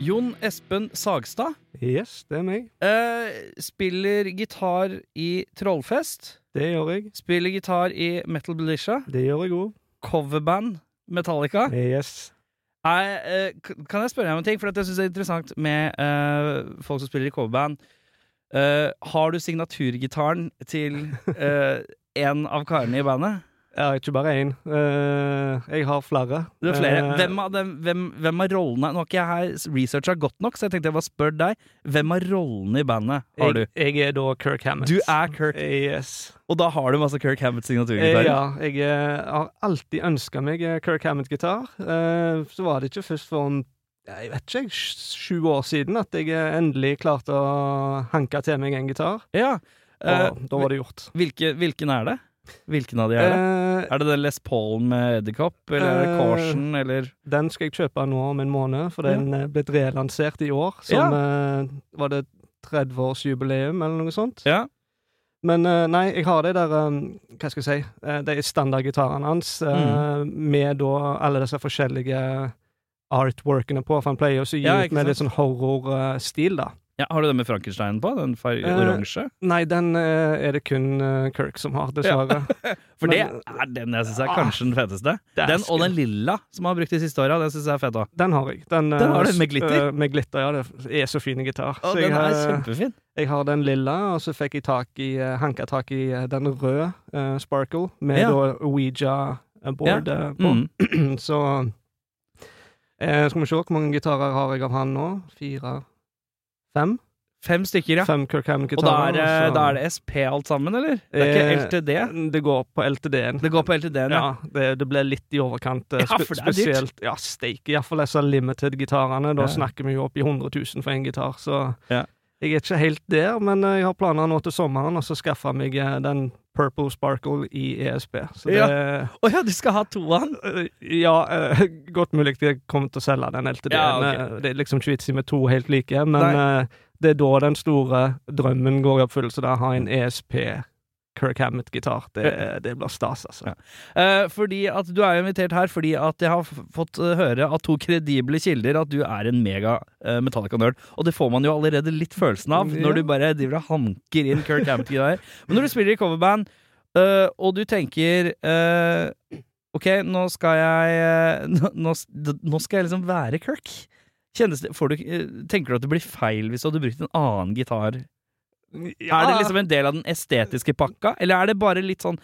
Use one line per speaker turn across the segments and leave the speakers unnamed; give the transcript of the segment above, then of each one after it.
Jon Espen Sagstad.
Yes, det er meg.
Eh, spiller gitar i Trollfest.
Det gjør jeg.
Spiller gitar i Metal Belisha.
Det gjør jeg òg.
Coverband Metallica.
Yes.
Er, eh, k- kan jeg spørre deg om en ting? For at jeg synes det er interessant med eh, folk som spiller i coverband. Eh, har du signaturgitaren til eh, en av karene i bandet?
Jeg har ikke bare én. Eh, jeg har flere.
Du har flere.
Eh,
Hvem av, dem, hvem, hvem av rollene Nå har ikke jeg her researcha godt nok, så jeg tenkte jeg bare spør deg. Hvem av rollene i bandet har du?
jeg, jeg er da Kirk Hammett.
Du er Kirk,
Yes.
og da har du masse Kirk Hammett
Eh,
signaturgitarer.
ja, jeg eh, har alltid ønska meg eh, Kirk Hammett-gitar. Eh, så var det ikke først for en, jeg vet ikke, jeg, sj- sju år siden at jeg eh, endelig klarte å hanke til meg en gitar.
Ja.
Og
Eh,
da var det gjort.
Hvilke, hvilken er det? Hvilken av de er det?
Eh,
er det den Les Paulen med edderkopp, eller er det
eh,
Caution, eller
Den skal jeg kjøpe nå om en måned, for den eh, ble relansert i år. Som eh, Var det 30-årsjubileum, eller noe sånt?
Ja.
Men eh, nei, jeg har de der eh, Hva skal jeg si? eh, de standardgitarene hans, eh,
Mm.
med da alle disse forskjellige artworkene på. For han pleier også å gi
Ja, ikke
ut med litt
sant?
sånn horrorstil, da.
ja? Har du den med Frankenstein på? Den far
Eh,
oransje?
Nei, den eh, er det kun eh, Kirk som har, dessverre.
For det
men-
er den jeg syns er
Ah,
kanskje den feteste. Den og den lilla som han har brukt de siste åra, den syns jeg er fet òg.
Den har jeg. Den, eh,
Den har du med glitter?
eh, med glitter, ja. Det er så fin gitar. så jeg
Den er
har-
kjempefin.
Jeg har den lilla, og så fikk jeg tak i, eh, hanka tak i eh, den røde eh, Sparkle, med
Ja.
da Ouija-board på.
Mm.
så eh, skal vi se, hvor mange gitarer har jeg av han nå? Fire? Fem?
Fem stykker, ja.
Fem Kirk
Og da
Hammond-gitarer.
er, det- da er det SP alt sammen, eller? Det er ikke
Eh,
LTD?
Det går på LTD-en.
Det går på LTD-en, ja.
Ja, det, det ble litt i overkant. eh,
Ja,
spe-
for det er dyrt.
Spesielt, ja, steike. Iallfall disse limited-gitarene. Da
Ja.
snakker vi jo opp i 100 000 for én gitar, så
Ja.
jeg er ikke helt der. Men eh, jeg har planer nå til sommeren og så skaffe meg eh, den Purple Sparkle i ESP. Så det
Ja.
Ja,
Å ja, du skal ha to av han?
ja eh, godt mulig jeg kommer til å selge den LTD-en.
Ja, ok.
Eh, Det er liksom ikke vits i med to helt like, men eh, det er da den store drømmen går i oppfyllelse. Da ha en ESP Kirk Hammett-gitar. Det, det blir stas, altså.
Eh, fordi at Du er jo invitert her fordi at jeg har f- fått eh, høre av to kredible kilder at du er en mega eh, Metallica-nerd. Og det får man jo allerede litt følelsen av
Ja.
når du bare driver og hanker inn Kirk Hammett-greier. Men når du spiller i coverband, eh, og du tenker eh, Ok, nå skal jeg eh, nå- nå, s- d- nå skal jeg liksom være Kirk. Kjennes det, får du, eh, tenker du at det blir feil hvis du hadde brukt en annen gitar? Er det liksom en del av den estetiske pakka, eller er det bare litt sånn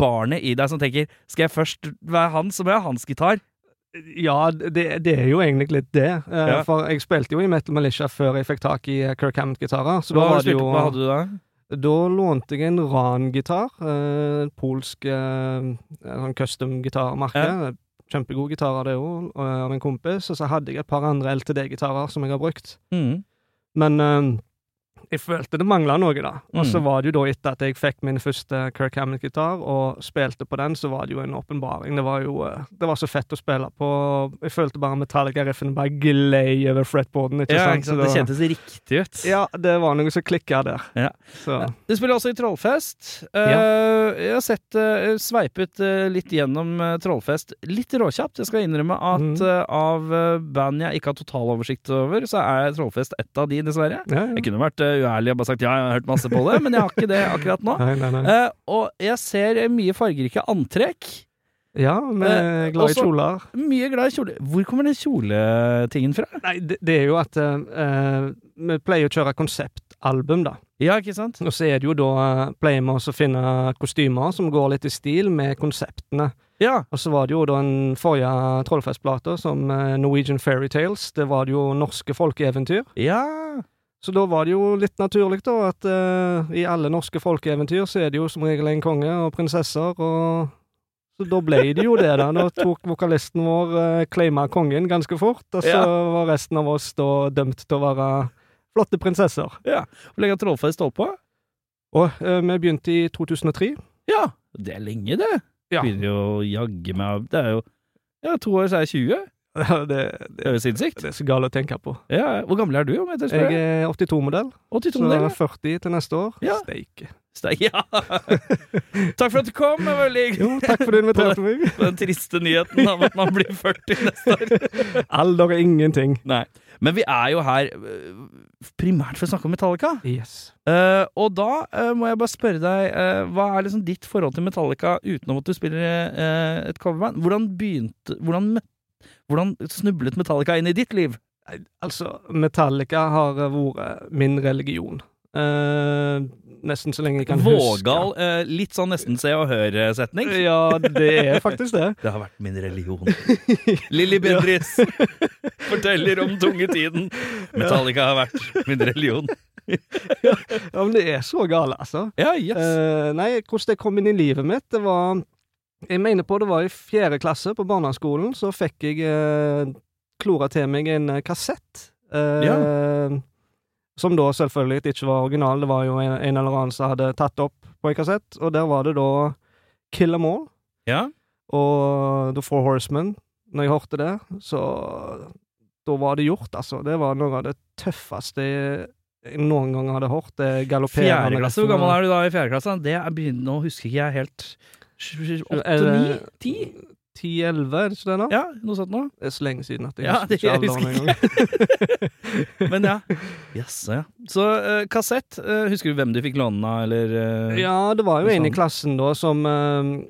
barnet i deg som tenker Skal jeg først være han, så må jeg ha hans gitar?
Ja, det, det er jo egentlig litt det. Eh,
Ja.
For jeg spilte jo i Metal Militia før jeg fikk tak i eh, Kirk Hammett-gitarer. Så
Hva,
da
har
var
du
det
spilt-
jo
hva hadde du da?
Da lånte jeg en Ran-gitar. eh, En polsk eh, sånn custom-gitarmerke. Kjempegod gitar av det òg, av en kompis. Og så hadde jeg et par andre LTD-gitarer som jeg har brukt.
Mm.
Men eh, jeg følte det mangla noe, da. Og så
Mm.
var det jo da etter at jeg fikk min første Kirk Hammett-gitar og spilte på den, så var det jo en åpenbaring. Det var jo eh, det var så fett å spille på. Jeg følte bare Metallica-riffen bare glei over fretboarden, ikke
Ja,
sant?
ikke sant?
Så
Det
da-
kjentes riktig ut.
ja, det var noe som klikka der.
Ja.
Så
Du spiller også i Trollfest. Eh, Jeg har sett eh, sveipet eh, litt gjennom eh, Trollfest litt råkjapt. Jeg skal innrømme at
Mhm.
eh, av eh, band jeg ikke har totaloversikt over, så er Trollfest ett av de, dessverre.
ja,
Jeg
ja.
kunne vært eh, uærlig og bare sagt ja, jeg har hørt masse på det, men jeg har ikke det akkurat nå.
Nei, nei, nei.
Eh, og jeg ser eh, mye fargerike antrekk.
Ja, vi
eh,
er glad i
også-
kjoler.
Mye glad i kjole. Hvor kommer den kjoletingen fra?
Nei, det, det er jo at eh, eh, vi pleier å kjøre konseptalbum, da.
Ja, ikke sant?
Og så er det jo da eh, pleier vi også å finne kostymer som går litt i stil med konseptene.
Ja.
Og så var det jo da den forrige Trollfestplata, som eh, Norwegian Fairytales. Det var det jo norske folkeeventyr.
Ja.
Så da var det jo litt naturlig, da, at eh, i alle norske folkeeventyr så er det jo som regel en konge og prinsesser og Så da ble det jo det, da. Da tok vokalisten vår eh, claima kongen ganske fort, og så
Ja.
var resten av oss da dømt til å være flotte prinsesser.
Hvor lenge har Trollfest holdt på?
Og eh, vi begynte i 2003.
Ja, det er lenge, det.
Ja.
Begynner jo å jagge meg av Det er jo ja, to år, så er jeg 20.
Det,
Det
det,
er jo sinnssykt.
det er så galt å tenke på.
Ja, hvor gammel er du, om jeg tør
Jeg
spørre?
er 82-modell,
82
så
modell.
40 til neste år.
Ja.
Steike.
Steik, Ja. Takk for at du kom. Det var veldig hyggelig.
Jo, takk for at du inviterte meg.
På den triste nyheten av at man blir 40 neste år.
Alder er ingenting.
Nei. Men vi er jo her øh, primært for å snakke om Metallica.
Yes.
Eh, og da eh, må jeg bare spørre deg, eh, hva er liksom ditt forhold til Metallica utenom at du spiller eh, et coverband? Hvordan begynte hvordan, mø- hvordan snublet Metallica inn i ditt liv?
Altså, Metallica har vært min religion. Eh, nesten så lenge jeg kan huske.
Vågal, eh, litt sånn nesten se og hør-setning.
Ja, det er faktisk det.
Det har vært min religion. Lilly Bendriss forteller om tunge tiden. Metallica har vært min religion.
Ja, men det er så gale, altså.
Ja, yes.
Eh, nei, hvordan det kom inn i livet mitt, det var Jeg mener på det var i fjerde klasse på barneskolen, så fikk jeg eh, klora til meg en eh, kassett. Eh, Som da selvfølgelig ikke var original, det var jo en, en eller annen som hadde tatt opp på en kassett, og der var det da Kill 'em All
Ja.
og The Four Horsemen. Når jeg hørte det, så Da var det gjort, altså. Det var noe av det tøffeste jeg noen gang hadde hørt. Det galopperende
Fjerde klasse, hvor gammel er du da i fjerde klasse? Det er begynner, Nå husker ikke jeg helt.
Er
Åtte, ni?
det-
Eh, Ti?
10-11, er det ikke det nå?
Ja, noe sånt nå.
Det er så lenge siden at jeg
Ja,
husker
det-
ikke
jeg
alderen
husker
engang.
Men ja. Jaså, ja. Så eh, kassett. eh, husker du hvem du fikk låne av, eller eh,
Ja, det var jo
Noe
en i
sånt.
klassen da som eh,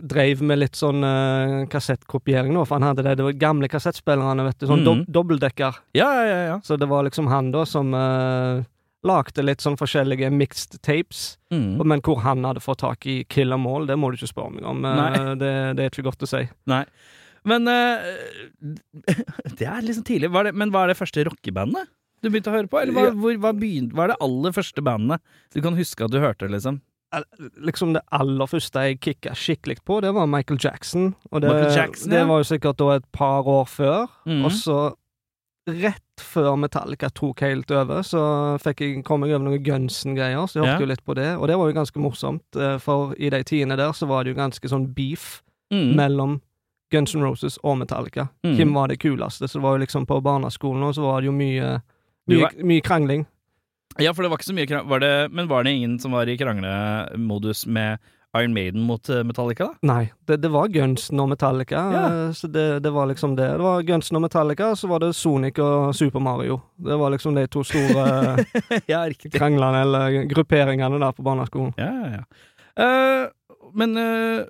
dreiv med litt sånn eh, kassettkopiering nå, for han hadde det. Det var gamle kassettspillerne, vet du. Sånn dob
Mhm.
dobbeltdekker.
ja, ja, ja, ja.
Så det var liksom han da som eh, lagde litt sånn forskjellige mixed tapes.
Mm.
Men hvor han hadde fått tak i Killer Mål, det må du ikke spørre meg om. Eh,
Nei.
Det, det er ikke godt å si.
Men eh, Det er liksom tidlig. Hva er det, men hva er det første rockebandet du begynte å høre på? Eller hva,
Ja.
hvor, hva, begyn- hva er det aller første bandet du kan huske at du hørte, liksom?
Liksom Det aller første jeg kicka skikkelig på, det var Michael Jackson. Og det,
Michael Jackson, ja.
det var jo sikkert da et par år før.
Mhm.
Og så, rett før Metallica tok helt over, så fikk jeg, kom jeg over noen Gunsen-greier, så jeg
Ja.
hørte jo litt på det. Og det var jo ganske morsomt, eh, for i de tidene der så var det jo ganske sånn beef
Mm.
mellom Guns N' Roses og Metallica.
Mm.
Hvem var det kuleste? Så det var jo liksom på barneskolen, og så var det jo mye,
Du
mye,
var-
mye krangling.
Ja, for det var ikke så mye krang- var det, Men var det ingen som var i kranglemodus med Iron Maiden mot eh, Metallica, da?
Nei, det, det var Gunsen og Metallica,
Ja.
eh, så det, det var liksom det. Det var Gunsen og Metallica, så var det Sonic og Super Mario. Det var liksom de to store
ja, riktig.
kranglene, eller grupperingene der på barneskolen.
Ja, ja, ja. Eh, men eh,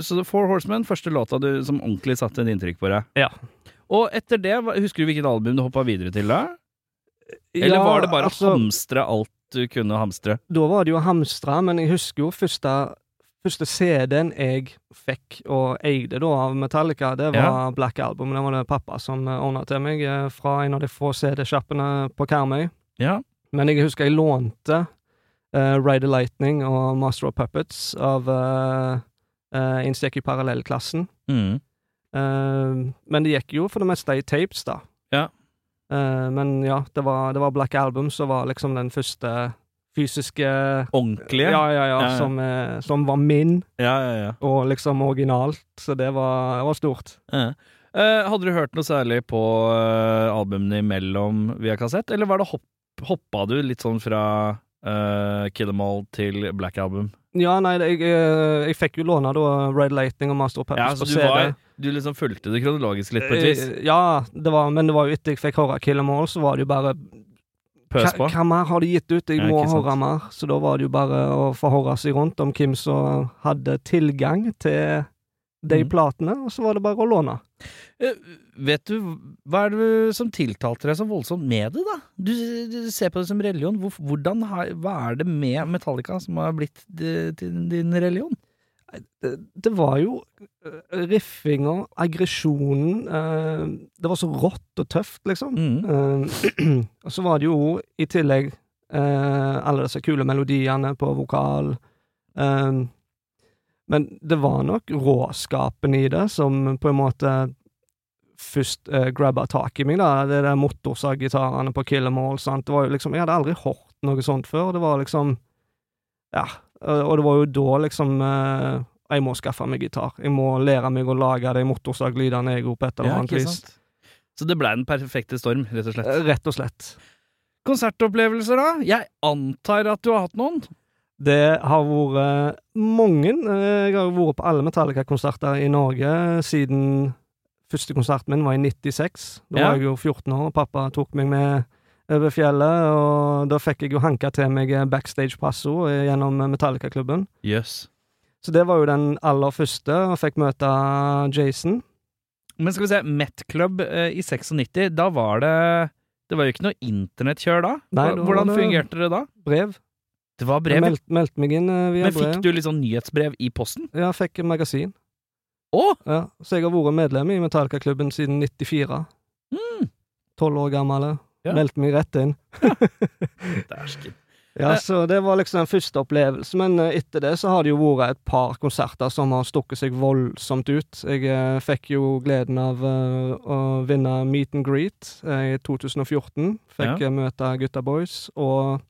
Så The Four Horsemen, første låta du som ordentlig satte et inntrykk på deg.
Ja.
Og etter det, hva- husker du hvilket album du hoppa videre til da? Eller var det bare å
altså,
hamstre alt du kunne hamstre?
Da var det jo hamstra, men jeg husker jo første, første CD-en jeg fikk og eide da av Metallica, det var
Ja.
Black Album. Det var det pappa som eh, ordna til meg eh, fra en av de få CD-sjappene på Karmøy.
Ja.
Men jeg husker jeg lånte uh, Rider Lightning og Master of Puppets av uh, En stek i parallellklassen.
Mm.
Eh, men det gikk jo for det meste i tapes, da.
Ja.
Eh, men ja, det var, det var Black Album som var liksom den første fysiske
Ordentlige?
ja, ja,
Ja,
ja,
ja.
Som, eh, som var min,
ja, ja. ja.
og liksom originalt. Så det var, det var stort.
Ja. Eh, hadde du hørt noe særlig på eh, albumene imellom via kassett, eller var det hopp, hoppa du litt sånn fra eh, Kill 'Em All til Black Album?
Ja, nei, det- jeg, eh, jeg fikk jo låne da Red Lightning og Master of
Ja,
Peppers
så
på
du,
CD.
var, du liksom fulgte det kronologisk litt på et vis?
Eh, Ja, det var, men det var jo etter jeg fikk høre Kill 'em All, så var det jo bare
Pøs
hva,
på?
hva mer har de gitt ut? Jeg
Ja,
må
ikke sant.
høre mer. Så da var det jo bare å forhøre seg rundt om hvem som hadde tilgang til de
Mhm.
platene, og så var det bare å låne.
Eh, vet du, hva er det som tiltalte deg så voldsomt med det, da? Du, du ser på det som religion. Hvor, hvordan, har- hva er det med Metallica som har blitt di- din, din religion?
det, det var jo eh, riffinger, aggresjonen eh, Det var så rått og tøft, liksom.
Mm.
Eh, og så var det jo i tillegg eh, alle disse kule melodiene på vokal. eh, Men det var nok råskapen i det som på en måte først eh, grabba tak i meg, da. Det der motorsagitarene på Killermall, sant. Det var jo liksom Jeg hadde aldri hørt noe sånt før. Det var liksom Ja. eh, Og det var jo da liksom eh, Jeg må skaffe meg gitar. Jeg må lære meg å lage de motorsaglydene jeg gjorde, på et eller
Ja,
annet
ikke
vis.
sant? Så det blei den perfekte storm, rett og slett.
Eh, Rett og slett.
Konsertopplevelser, da? Jeg antar at du har hatt noen?
Det har vært mange. Eh, Jeg har jo vært på alle Metallica-konserter i Norge siden første konserten min var i 96. Da
Ja.
var jeg jo 14 år, og pappa tok meg med over fjellet. Og da fikk jeg jo hanka til meg eh, backstage-passord eh, gjennom Metallica-klubben.
Jøss.
Så det var jo den aller første, og fikk møte Jason.
Men skal vi se, Met Club eh, i 96, da var det Det var jo ikke noe internettkjør da?
Nei,
Hva-
da
Hvordan
var det-
fungerte det da?
Brev.
Det var
Jeg
brev. ja.
Meld, meldte meg inn eh, via
Men
brev.
fikk du litt sånn nyhetsbrev i posten?
Ja, fikk magasin.
Å!
Ja. Så jeg har vært medlem i Metallica-klubben siden 94.
Mm,
Tolv år gammel. eh.
Ja.
Meldte meg rett inn.
Dæsken.
Ja,
Eh.
så det var liksom den første opplevelsen, men eh, etter det så har det jo vært et par konserter som har stukket seg voldsomt ut. Jeg eh, fikk jo gleden av eh, å vinne Meet and Greet eh, i 2014. Fikk eh, møte Gutta Boys, og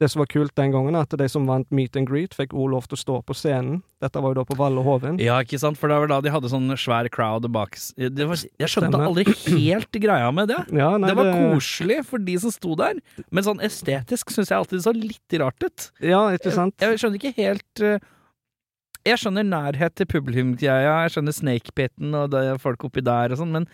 det som var kult den gangen, er at de som vant Meet and Greet, fikk også lov til å stå på scenen. Dette var jo da på Valle Hovin.
Ja, ikke sant? For det var da de hadde sånn svær crowd bak s- det var, Jeg skjønte
Stemmer.
aldri helt greia med det.
Ja, nei,
det var koselig for de som sto der, men sånn estetisk syns jeg alltid det så litt rart ut.
Ja, ikke sant?
Jeg skjønner ikke helt eh, Jeg skjønner nærhet til publikumgreia, jeg skjønner snakepitten og det, folk oppi der og sånn, men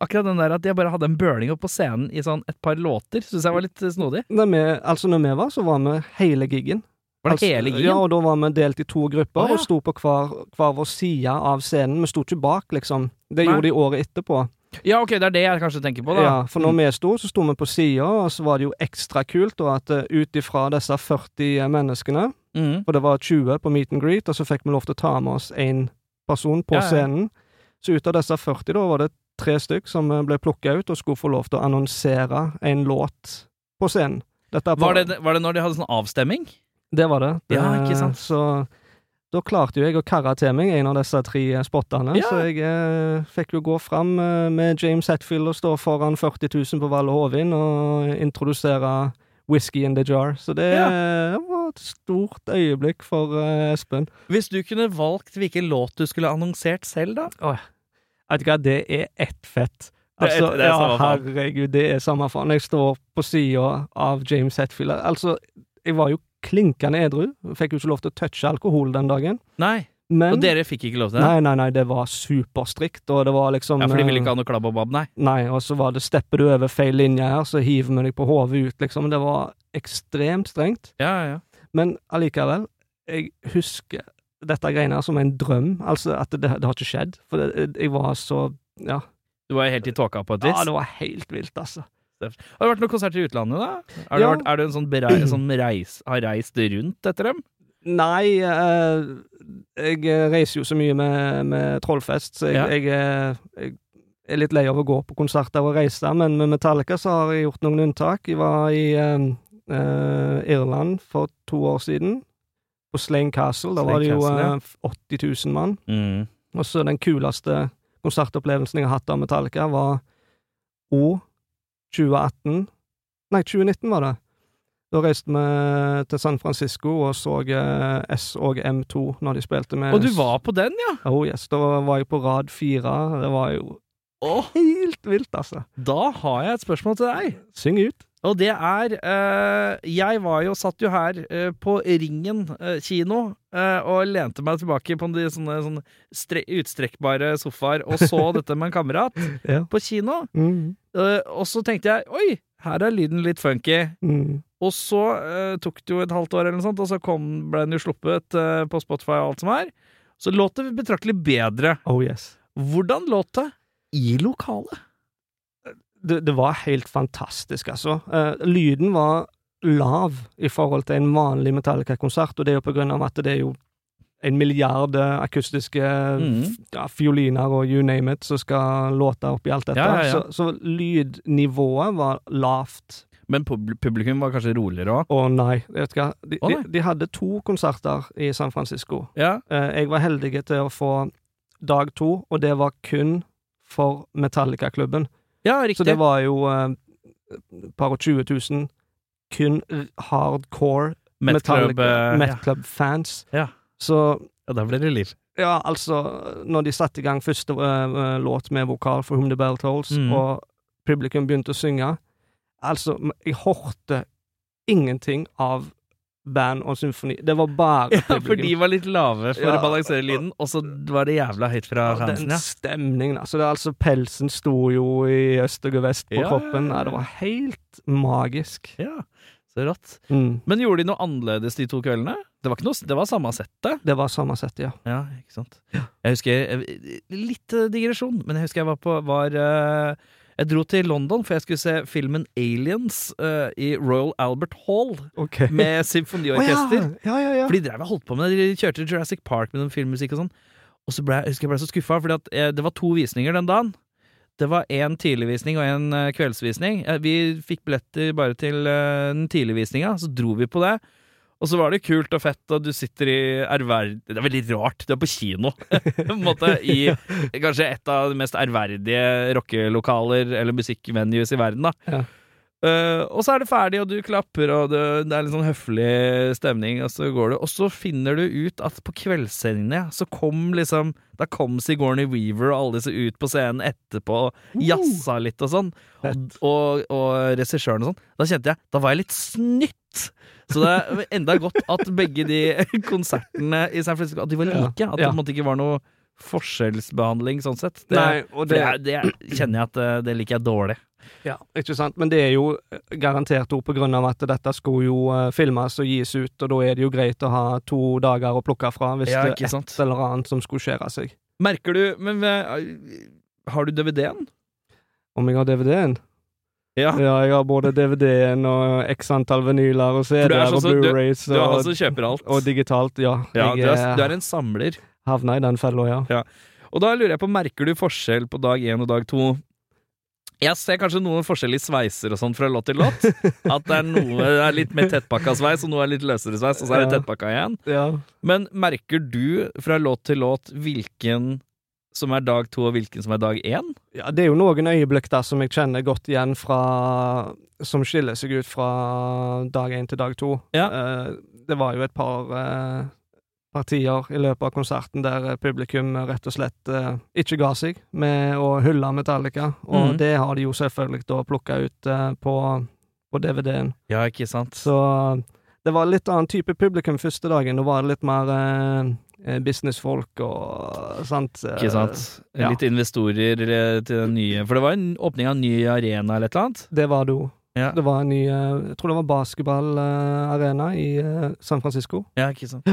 akkurat den der at jeg bare hadde en burning opp på scenen i sånn et par låter, syns jeg var litt eh, snodig.
Når vi, altså når vi var, så var vi hele gigen.
Var det
altså,
hele gigen?
Ja, og da var vi delt i to grupper
Å, ja.
og sto på hver, hver vår side av scenen. Vi sto ikke bak, liksom. Det
Nei.
gjorde de året etterpå.
Ja, ok, det er det jeg kanskje tenker på, da.
Ja, for når vi sto, så sto vi på sida, og så var det jo ekstra kult da, at eh, ut ifra disse 40 menneskene,
Mhm.
og det var 20 på meet and greet, og så fikk vi lov til å ta med oss én person på
Ja, ja.
scenen. Så ut av disse 40 da, var det tre stykk som eh, ble plukka ut og skulle få lov til å annonsere en låt på scenen. Dette er på-
Var, det, var det når de hadde sånn avstemming?
Det var det. det
Ja, ikke sant?
Så da klarte jo jeg å karre til meg en av disse tre spottene,
Ja.
så jeg eh, fikk jo gå fram eh, med James Hetfield og stå foran 40 000 på Valle Hovin og introdusere Whisky in the Jar. Så det eh, var et stort øyeblikk for eh, Espen.
Hvis du kunne valgt hvilken låt du skulle annonsert selv, da?
Vet du hva, det er ett fett.
Det er
Altså,
ett- det er
ja,
samme faen.
herregud, det er samme faen. Jeg står på sida av James Hetfield. Altså, jeg var jo klinkende edru. Fikk jo ikke lov til å touche alkohol den dagen.
Nei.
Men
Og dere fikk ikke lov til det?
Nei, nei, nei, det var superstrikt, og det var liksom
Ja, for de ville ikke ha noe klabb og babb, nei?
Nei, og så var det stepper du over feil linje her, så hiver vi deg på hodet ut, liksom. Det var ekstremt strengt,
Ja, ja, ja.
men allikevel, jeg husker dette greiene her som en drøm, altså at det, det har ikke skjedd, for det, jeg var så ja.
Du var helt i tåka på et vis?
ja, det var helt vilt, altså.
Har det vært noen konserter i utlandet, da? Har
Ja.
du, vært, er du en sånn, berei, som reis, har reist rundt etter dem?
Nei, eh, jeg reiser jo så mye med, med Trollfest, så jeg,
Ja.
jeg, er- jeg er litt lei av å gå på konserter og reise, men med Metallica så har jeg gjort noen unntak. Jeg var i eh, eh, Irland for to år siden, på Slane Castle. Da
Slane
var det jo
Castle, ja.
eh, 80 000 mann. Og så den kuleste konsertopplevelsen jeg har hatt av Metallica, var O 2018 Nei, 2019 var det. Da reiste vi til San Francisco og så eh, S og M2 når de spilte med
Og du var på den, ja?
Oh yes, Da var jeg på rad fire. Det var jo
Åh,
helt vilt, altså.
da har jeg et spørsmål til deg.
Syng ut.
Og det er eh, Jeg var jo, satt jo her eh, på Ringen eh, kino eh, og lente meg tilbake på de sånne, sånne stre utstrekkbare sofaer og så dette med en kamerat
Ja.
på kino.
Mm,
Eh, og så tenkte jeg oi, her er lyden litt funky.
mm.
Og så eh, tok det jo et halvt år, eller noe sånt, og så kom, ble den jo sluppet eh, på Spotify og alt som er. Så låt det betraktelig bedre.
Oh yes.
Hvordan låt det i lokalet?
det, det var helt fantastisk, altså. Eh, lyden var lav i forhold til en vanlig Metallica-konsert, og det er jo på grunn av at det er jo en milliard eh, akustiske
Mhm.
f- ja, fioliner og you name it som skal låte oppi alt dette.
Ja, ja, ja.
Så, så lydnivået var lavt.
Men pub- publikum var kanskje roligere òg?
Å nei, vet du hva. De,
Å, nei.
de, de hadde to konserter i San Francisco.
Ja.
Eh, jeg var heldig til å få dag to, og det var kun for Metallica-klubben.
ja,
Så
riktig.
det var jo eh, et par og 20 000 kun r- hardcore
Met Club, eh, ja.
Metclub-fans.
Ja.
Så
ja, der ble det liv.
Ja, altså, når de satte i gang første eh, eh, låt med vokal for Whom the Bell Tolls,
Mm.
og publikum begynte å synge Altså, m- jeg hørte ingenting av band og symfoni. Det var bare
Ja, for de
publikum.
var litt lave for
Ja.
å balansere lyden, og så var det jævla høyt fra
Ja, den
fansen, ja.
stemningen, altså. Det, er altså pelsen sto jo i øst og vest på
Ja.
kroppen. Nei, det var helt magisk.
ja. Så rått.
Mm.
Men gjorde de noe annerledes de to kveldene? Det var, ikke noe, det var samme settet.
Det var samme sett, ja.
Ja, ikke sant. Jeg husker eh, Litt eh, digresjon, men jeg husker jeg var på var, eh, Jeg dro til London, for jeg skulle se filmen Aliens eh, i Royal Albert Hall
OK.
med
Å,
symfoniorkester.
ja. ja, ja, ja.
For de drev og holdt på med det. De kjørte Jurassic Park med noen filmmusikk og sånn. Og så ble jeg, jeg husker jeg ble så skuffa, for eh, det var to visninger den dagen. Det var én tidligvisning og én kveldsvisning. Eh, Vi fikk billetter bare til eh, den tidligvisninga, så dro vi på det. Og så var det kult og fett, og du sitter i ærverd... Det er veldig rart, du er på kino, på en måte, i kanskje et av de mest ærverdige rockelokaler eller musikkvenues i verden, da.
Ja.
Eh, og så er det ferdig, og du klapper, og det, det er litt sånn høflig stemning, og så går du. Og så finner du ut at på kveldssendingene så kom liksom Da kom Sigourney Weaver og alle disse ut på scenen etterpå og jazza litt og sånn. Og,
Uh! Fett.
og, og regissøren og sånn. Da kjente jeg Da var jeg litt snytt! Så det er enda godt at begge de konsertene i San Francisco At de var
Ja.
like. At det
Ja.
på en måte ikke var noe forskjellsbehandling sånn sett. Det,
Nei, og
for det, er- det er- kjenner jeg at eh, det liker jeg dårlig.
Ja, ikke sant? Men det er jo eh, garantert ord på grunn av at dette skulle jo eh, filmes og gis ut, og da er det jo greit å ha to dager å plukke fra hvis
Ja,
det
ikke
er
sant?
et eller annet som skulle skjære seg.
Merker du Men eh, har du DVD-en?
Om jeg har DVD-en?
Ja.
Ja, jeg har både DVD-en og x antall vinyler og
du er
CD-er
sånn
og
som- du-
Blu-rays
Du er han som
og,
kjøper alt.
og digitalt, ja.
ja, du,
jeg
er, du er en samler.
havna i den fella, ja.
Og da lurer jeg på, merker du forskjell på dag én og dag to? Jeg ser kanskje noen forskjell i sveiser og sånn fra låt til låt. At det er noe er litt mer tettpakka sveis, og noe er litt løsere sveis, og så er det
Ja.
tettpakka igjen.
ja.
Men merker du fra låt til låt hvilken som er dag to, og hvilken som er dag én?
Ja, det er jo noen øyeblikk der som jeg kjenner godt igjen fra Som skiller seg ut fra dag én til dag to. Eh, det var jo et par eh, partier i løpet av konserten der eh, publikum rett og slett eh, ikke ga seg med å hylle Metallica, og
Mhm.
det har de jo selvfølgelig da plukka ut eh, på, på DVD-en.
Ja, ikke sant?
Så det var litt annen type publikum første dagen. Da var det litt mer eh, businessfolk og sant. eh,
ikke sant?
ja.
Litt investorer eh, til den nye For det var en åpning av en ny arena eller et eller annet?
Det var det jo.
Ja.
Det var en ny eh, Jeg tror det var basketballarena i eh, San Francisco.
Ja, ikke sant?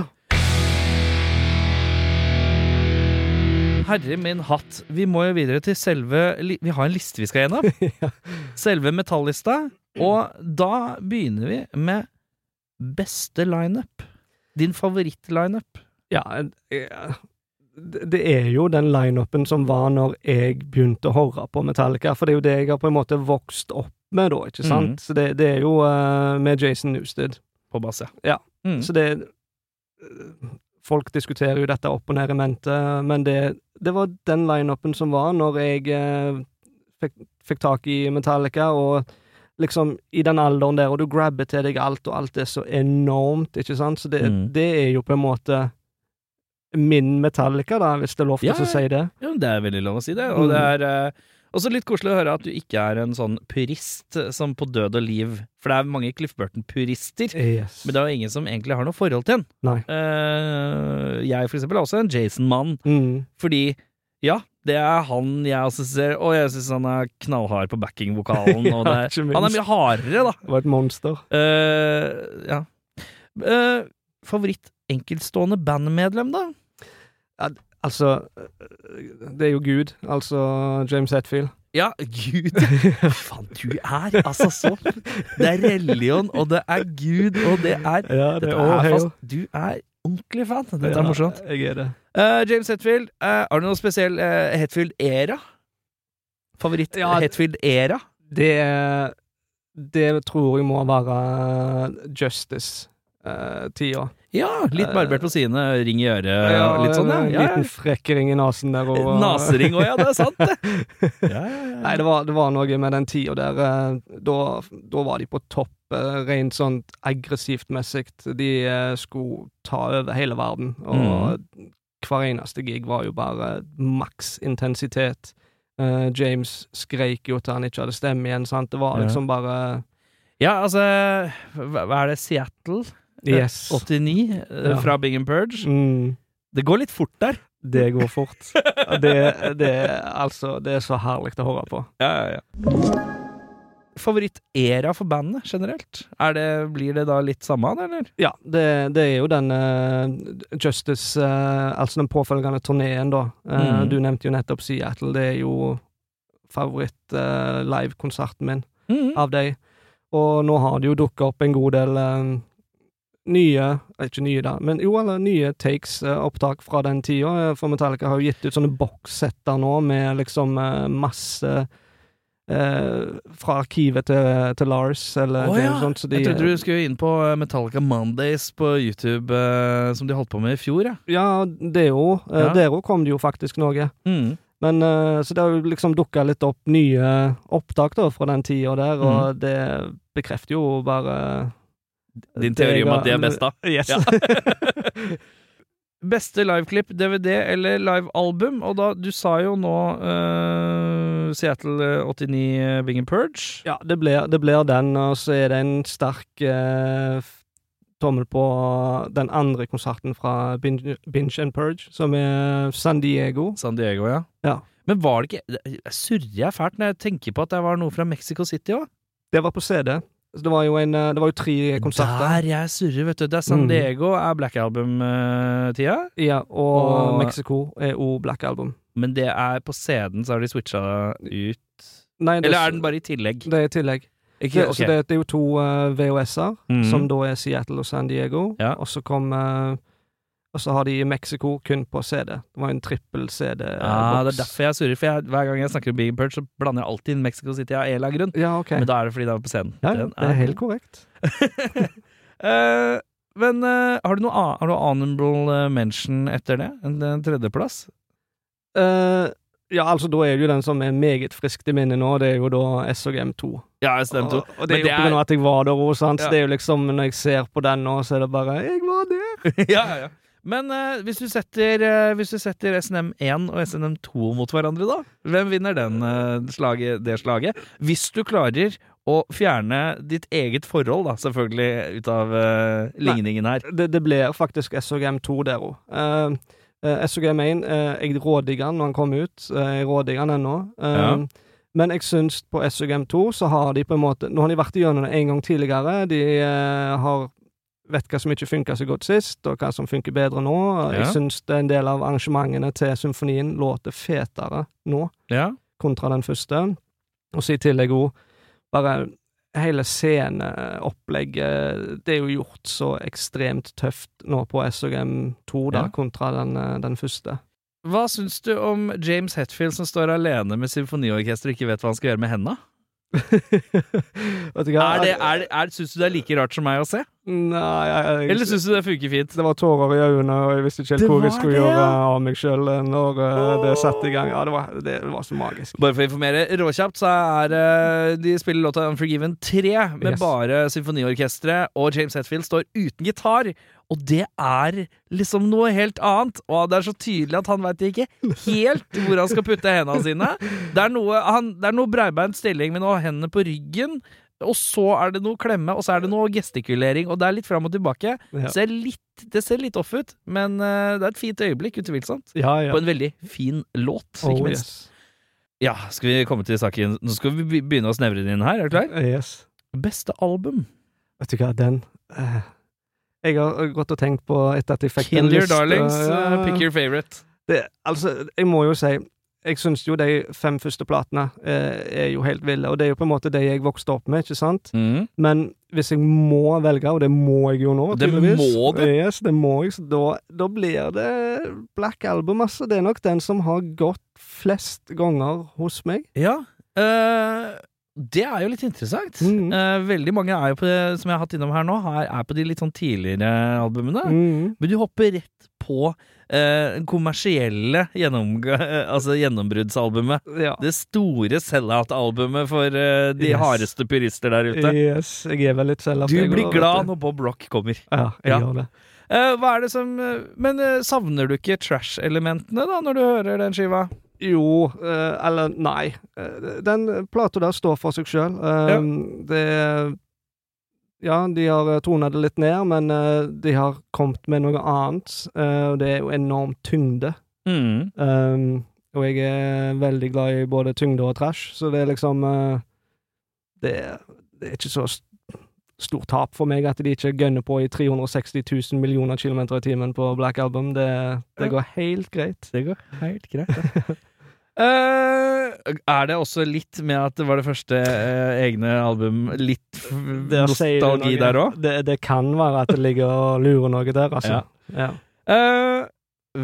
Herre min hatt, vi må jo videre til selve li- Vi har en liste vi skal gjennom.
Ja.
Selve metallista. Og da begynner vi med beste lineup. Din favorittlineup.
Ja, eh, det det er jo den lineupen som var når jeg begynte å høre på Metallica, for det er jo det jeg har på en måte vokst opp med da, ikke sant? Så det, det er jo eh, med Jason Newsted.
På bass, ja.
Ja.
Mm.
Så det eh, Folk diskuterer jo dette opp og ned i mente, men det, det var den lineupen som var når jeg eh, fikk, fikk tak i Metallica, og liksom i den alderen der, og du grabber til deg alt, og alt er så enormt, ikke sant? Så det,
Mm.
det er jo på en måte min Metallica, da, hvis det er lov til
Ja,
å si det.
Jo, det er veldig lov å si det. Og
Mm.
det er eh, også litt koselig å høre at du ikke er en sånn purist som på død og liv For det er mange Cliff Burton-purister.
Yes.
Men det er jo ingen som egentlig har noe forhold til den.
Nei.
Eh, jeg for eksempel er også en Jason-mann,
Mm.
fordi ja, det er han jeg også ser, og jeg syns han er knallhard på backing-vokalen. og det
Ja,
er,
ikke minst.
han er mye hardere, da.
Det var et monster.
Eh, ja. Eh, favoritt enkeltstående bandmedlem, da?
Altså, eh, det er jo Gud, altså James Hetfield.
Ja, Gud! Hva faen du er? Altså, så Det er religion, og det er Gud, og det er
Ja,
Dette er fast Du er ordentlig fan. Dette er morsomt.
Jeg er det.
Eh, James Hetfield, eh, har du noe spesiell eh, Hetfield-era? Favoritt
Ja, d-
Hetfield-era?
Det, det tror jeg må være eh, Justice-tida.
Ja, litt barbert på sidene, ring i øret, litt sånn,
Eh. En
ja.
eh, liten
ja.
frekkering i nesen der. Og, eh,
Nasering òg, ja, det er sant, det. Ja, ja,
Nei, det var, det var noe med den tida der eh, Da, da var de på topp, eh, rent sånn aggressivt messig. De eh, skulle ta over hele verden,
Mm.
og hver eneste gig var jo bare maks intensitet. Eh, James skreik jo til han ikke hadde stemme igjen, sant. Det var
Ja.
liksom bare
ja. ja, altså Hva hva er det, Seattle?
Yes.
89 eh,
Ja.
fra Big and Purge.
Mm.
Det går litt fort der.
Det går fort. Det, det, altså, det er så herlig å høre på.
Ja, ja, ja. Favorittera for bandet generelt? Er det, blir det da litt samme, eller?
Ja, det, det er jo den eh, Justice eh, Altså den påfølgende turneen, da. Eh,
Mhm.
Du nevnte jo nettopp Seattle. Det er jo eh, favoritt-livekonserten min
Mm.
av deg. Og nå har det jo dukka opp en god del eh, nye eh, Ikke nye, da, men jo, eller nye takes, eh, opptak fra den tida. Eh, For Metallica har jo gitt ut sånne bokssetter nå med liksom eh, masse eh, fra arkivet til, til Lars eller
Å
noe
ja.
sånt. sånn, Så de,
Jeg trodde du skulle inn på eh, Metallica Mondays på YouTube, eh, som de holdt på med i fjor, ja.
Ja, det er jo. eh,
Ja.
Der òg kom det jo faktisk noe.
Mm.
Men eh, så det har jo liksom dukka litt opp nye opptak da fra den tida der, og
Mm.
det bekrefter jo bare
Din teori om at det er best, da.
Yes.
Ja. Beste liveklipp, DVD eller livealbum? Og da, du sa jo nå eh, Seattle 89 eh, Bing and Purge.
Ja, det blir, det blir den, og så er det en sterk eh, f- tommel på den andre konserten fra Binge, Binge and Purge, som er San Diego.
San Diego, ja.
Ja.
Men var det ikke Jeg surrer jeg fælt når jeg tenker på at det var noe fra Mexico City òg.
Det var på CD. Så det var jo, en, eh, det var jo tre konserter.
Der jeg surrer, vet du. Det er San
Mm.
Diego er Black eh, Album-tida.
Ja, og,
Og-
Mexico er òg Black Album.
Men det er på CD-en så har de switcha ut
Nei, det,
Eller er den bare i tillegg?
Det er i tillegg.
Ikke,
Det,
ok.
så det, det er jo to eh, VHS-er,
Mhm.
som da er Seattle og San Diego.
Ja.
Og så kom eh, Og så har de i Mexico kun på CD. Det var en trippel CD-boks.
Ja, Ah, det er derfor jeg surrer. For jeg, hver gang jeg snakker om Big Purge, så blander jeg alltid inn Mexico City av en eller annen grunn.
Ja, ok.
Men da er det fordi det er på scenen.
Ja, ja,
Den
det er helt korrekt.
Eh, men eh, har du noe an- har du honorable eh, mention etter det? En, en tredjeplass?
Eh, ja, altså, da er det jo den som er meget frisk til minne nå, det er jo da SOGM2.
Ja, jeg stemte.
Og, og
Men
det er jo
det
på grunn av at jeg var der òg, sant.
Ja.
Så det er jo liksom, når jeg ser på den nå, så er det bare 'Jeg var der'.
ja, ja, ja. Men eh, hvis du setter, eh, hvis du setter SNM1 og SNM2 mot hverandre, da? Hvem vinner den, eh, slaget, det slaget? Hvis du klarer å fjerne ditt eget forhold, da, selvfølgelig, ut av eh, ligningen her.
Det, det blir faktisk SOGM2 der òg. SOGM1 eh, Jeg rådigger den når han kom ut. Eh, jeg rådigger den ennå. Eh,
Ja.
Men jeg syns på SOGM2 så har de på en måte Nå har de vært igjennom det en gang tidligere. De eh, har vet hva som ikke funka så godt sist, og hva som funker bedre nå.
Ja.
Jeg syns det er en del av arrangementene til symfonien låter fetere nå
Ja.
kontra den første. Og så i tillegg òg bare hele sceneopplegget Det er jo gjort så ekstremt tøft nå på SOGM2 da,
Ja.
kontra den, eh, den første.
Hva syns du om James Hetfield som står alene med symfoniorkester og ikke vet hva han skal gjøre med henda?
Vet du
Er
hva?
det, er, det- er, syns du det er like rart som meg å se?
Nei, jeg, jeg,
Eller syns du det funker fint?
det var tårer i øynene, og jeg visste ikke
Det
helt hvor
var
jeg skulle
det, ja.
gjøre av meg sjøl når eh, det satte i gang. Ja, det var, det var så magisk.
Bare for å informere råkjapt, så er eh, de spiller låta Unforgiven 3 med
Yes.
bare symfoniorkesteret, og James Hetfield står uten gitar. Og det er liksom noe helt annet, og det er så tydelig at han veit ikke helt hvor han skal putte hendene sine. Det er noe, han, det er noe breibeint stilling med noe hendene på ryggen. Og så er det noe klemme, og så er det noe gestikulering, og det er litt fram og tilbake.
Ja.
Ser litt, det ser litt off ut, men eh, det er et fint øyeblikk, utvilsomt.
Ja, ja.
På en veldig fin låt, ikke
Oh,
minst.
yes.
Ja, skal vi komme til saken Nå skal vi be- begynne å snevre det inn her, er du klar?
yes.
Beste album
Vet du hva, den eh, Jeg har gått og tenkt på etter at jeg fikk
Kill
den
Your
lista,
Darlings,
ja.
eh, pick your favorite
det, altså, jeg må jo si jeg syns jo de fem første platene eh, er jo helt ville, og det er jo på en måte det jeg vokste opp med, ikke sant? Men hvis jeg må velge, og det må jeg jo nå,
Det
tydeligvis
må du.
Yes, det må jeg, så da, da blir det Black Album, altså. Det er nok den som har gått flest ganger hos meg.
Ja eh, det er jo litt interessant.
Mhm.
Eh, veldig mange er jo på det, som jeg har hatt innom her nå, har- er på de litt sånn tidligere albumene.
Mm.
Men du hopper rett på eh, kommersielle gjennomg altså gjennombruddsalbumet.
Ja.
Det store sell-out-albumet for eh, de
Yes.
hardeste purister der ute.
Yes, jeg er vel litt selv
Du blir glad når Bob Rock kommer.
Ja, jeg
Ja.
gjør det.
Eh, hva er det som eh, Men eh, savner du ikke trash-elementene da, når du hører den skiva?
Jo, eh, eller nei. Eh, Den plata der står for seg sjøl.
Ja.
Det Ja, de har eh, tonet det litt ned, men eh, de har kommet med noe annet, eh, og det er jo enorm tyngde.
Mm.
Um, og jeg er veldig glad i både tyngde og trash, så det er liksom eh, det, er- det er ikke så st- stort tap for meg at de ikke gønner på i 360 000 millioner kilometer i timen på Black Album. Det, det
Ja.
går helt greit.
Det går helt greit, Eh, er det også litt med at det var det første eh, egne album Litt f-
sier du
nostalgi
noe.
der òg?
Det, det kan være at det ligger og lurer noe der, altså. Ja.
Uh,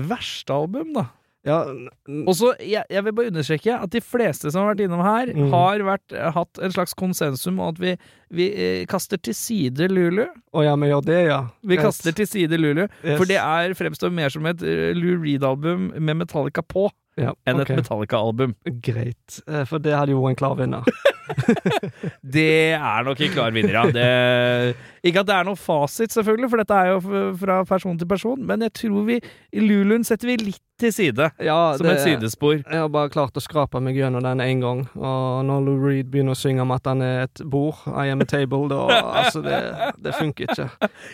verste album, da?
Ja, n- n-
Og så, jeg, jeg vil bare understreke at de fleste som har vært innom her,
Mm.
har vært, hatt en slags konsensum om at vi, vi eh, kaster til side Lulu.
Å ja, vi gjør det, ja.
Vi
Greit.
kaster til side Lulu,
Yes.
for det er, fremstår mer som et eh, Lou Reed-album med Metallica på
ja,
enn
ok.
et Metallica-album.
Greit, Eh, for det hadde jo vært en klar vinner.
Det er nok en klar vinner, ja. Det, ikke at det er noe fasit, selvfølgelig, for dette er jo f- fra person til person, men jeg tror vi Luluen setter vi litt til side,
Ja,
som et sidespor.
Jeg har bare klart å skrape meg gjennom den én gang, og når Lou Reed begynner å synge om at han er et bord, I am a table, da Altså, det, det funker ikke.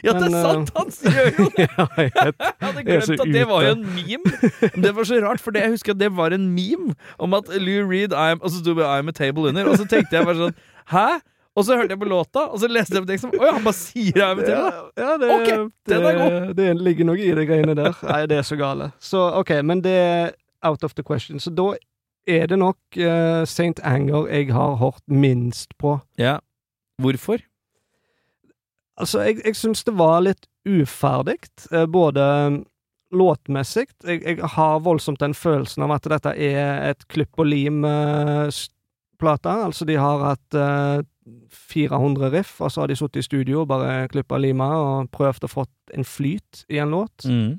Ja, det er
Men, eh,
sant! Han gjør jo
Ja, jeg vet.
Jeg hadde
Jeg er så
glemt at det var jo
ute.
en meme. Men Det var så rart, for det, jeg husker at det var en meme om at Lou Reed I'm, Og så sto det I'm a table under, og så tenkte jeg bare sånn Hæ? Og så hørte jeg på låta, og så leste jeg på teksten. Å ja, han bare sier I'm a table.
Ja, ja, det,
Ok, den er
det, det ligger noe i de greiene der. Nei, det er så gale. Så OK, men det er out of the question. Så da er det nok eh, St. Anger jeg har hørt minst på.
Ja. Hvorfor?
Altså, jeg, jeg syns det var litt uferdig, eh, både låtmessig jeg, jeg har voldsomt den følelsen av at dette er et klipp og lim-plate. altså, de har hatt eh, 400 riff, og så har de sittet i studio og bare klippa og lima og prøvd å få en flyt i en låt.
Mm.